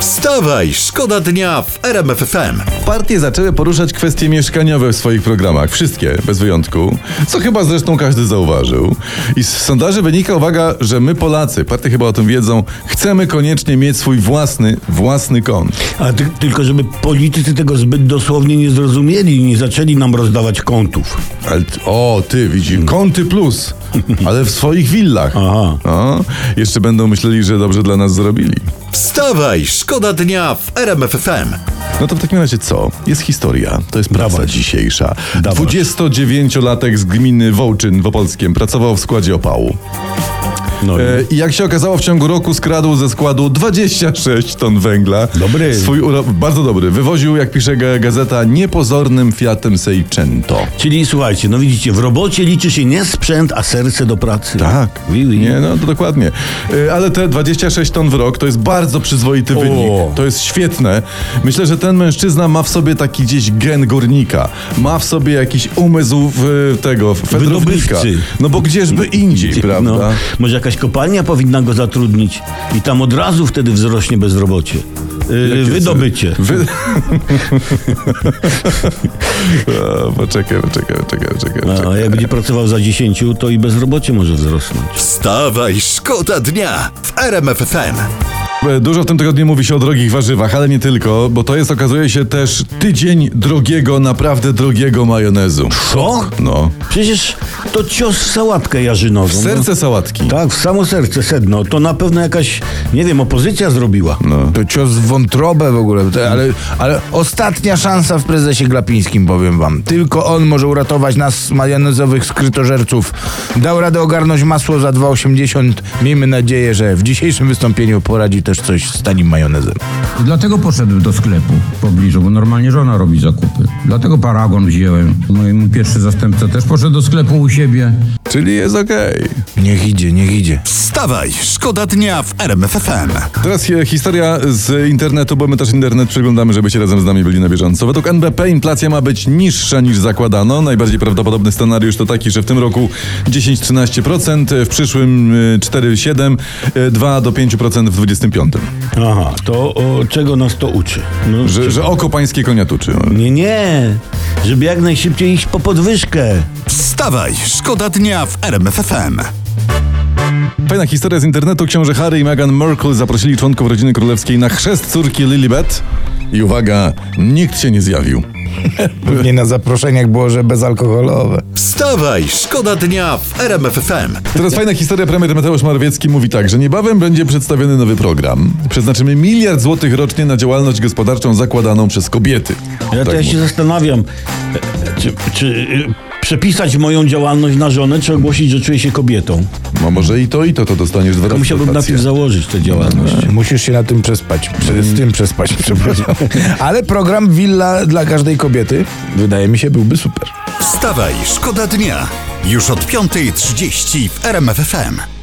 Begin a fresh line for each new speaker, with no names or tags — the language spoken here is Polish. Wstawaj, szkoda dnia w RMF FM.
Partie zaczęły poruszać kwestie mieszkaniowe w swoich programach. Wszystkie, bez wyjątku. Co chyba zresztą każdy zauważył. I z sondaży wynika uwaga, że my Polacy, partie chyba o tym wiedzą, chcemy koniecznie mieć swój własny, własny kąt.
A ty, tylko żeby politycy tego zbyt dosłownie nie zrozumieli i nie zaczęli nam rozdawać kątów.
Ale, t- o, ty widzisz, kąty plus, ale w swoich willach.
Mm. Aha.
No, jeszcze będą myśleli, że dobrze dla nas zrobili.
Wstawaj, szkoda dnia w RMF FM.
No to w takim razie co? Jest historia, to jest praca
Dawaj.
dzisiejsza.
Dawaj.
29-latek z gminy Wołczyn w Opolskiem pracował w składzie opału.
No i-
E, I jak się okazało, w ciągu roku skradł ze składu 26 ton węgla.
Dobry.
Swój uro... Bardzo dobry. Wywoził, jak pisze ga- gazeta, niepozornym Fiatem Seicento.
Czyli słuchajcie, no widzicie, w robocie liczy się nie sprzęt, a serce do pracy.
Tak.
Oui, oui.
Nie, no to dokładnie. E, Ale te 26 ton w rok to jest bardzo przyzwoity wynik. To jest świetne. Myślę, że ten mężczyzna ma w sobie taki gdzieś gen górnika. Ma w sobie jakiś umysł w, tego, fedrownika.
Wydobywcy.
No bo gdzieżby indziej, prawda?
No, może jakaś kopalnia powinna go zatrudnić i tam od razu wtedy wzrośnie bezrobocie. Yy,
Jakie
wydobycie.
są- Wy... A, E, poczekaj, poczekaj, poczekaj, poczekaj.
A
poczekaj.
jak będzie pracował za 10, to i bezrobocie może wzrosnąć.
Wstawaj, szkoda dnia w RMF FM.
E, Dużo w tym tygodniu mówi się o drogich warzywach, ale nie tylko, bo to jest, okazuje się, też tydzień drogiego, naprawdę drogiego majonezu.
Co?
No.
Przecież to cios w sałatkę jarzynową.
W serce sałatki.
Tak, w samo serce, sedno. To na pewno jakaś, nie wiem, opozycja zrobiła.
No.
To cios w wątrobę w ogóle, Te- ale, ale ostatnia szansa w prezesie Glapińskim, powiem wam. Tylko on może uratować nas z majonezowych skrytożerców. Dał radę ogarnąć masło za 2,80. Miejmy nadzieję, że w dzisiejszym wystąpieniu poradzi też coś z tanim majonezem.
Dlatego poszedłem do sklepu w pobliżu, bo normalnie żona robi zakupy. Dlatego paragon wziąłem. Mój, mój pierwszy zastępca też poszedł do sklepu u siebie.
Czyli jest okej.
Niech idzie, niech idzie.
Wstawaj, szkoda dnia w RMF FM.
Teraz e, historia z internetu, bo my też internet przeglądamy, żebyście razem z nami byli na bieżąco. Według NBP inflacja ma być niższa niż zakładano. Najbardziej prawdopodobny scenariusz to taki, że w tym roku 10-13%, w przyszłym e, 4-7%, e, 2 do 5% w 25.
Aha, to o, czego nas to uczy? No,
Że, że oko pańskie konia tuczy.
Nie, nie. Żeby jak najszybciej iść po podwyżkę.
Wstawaj, szkoda dnia w RMF FM.
Fajna historia z internetu. Książę Harry i Meghan Merkel zaprosili członków rodziny królewskiej na chrzest córki Lilibet. I uwaga, nikt się nie zjawił.
Pewnie na zaproszeniach było, że bezalkoholowe.
Wstawaj, szkoda dnia w RMF FM.
Teraz fajna historia. Premier Mateusz Morawiecki mówi tak, że niebawem będzie przedstawiony nowy program. Przeznaczymy miliard złotych rocznie na działalność gospodarczą zakładaną przez kobiety.
Ja to
Tak
ja się
mówi.
zastanawiam, e, czy, czy e, przepisać moją działalność na żonę, czy ogłosić, że czuję się kobietą.
No może i to, i to, to dostaniesz dwa
To
razy.
musiałbym
dotację.
najpierw założyć tę działalność.
Musisz się na tym przespać. Prze-
Mm.
Z tym przespać, przepraszam. Ale program Willa dla każdej kobiety, wydaje mi się, byłby super.
Wstawaj, szkoda dnia. Już od 5.30 w RMF FM.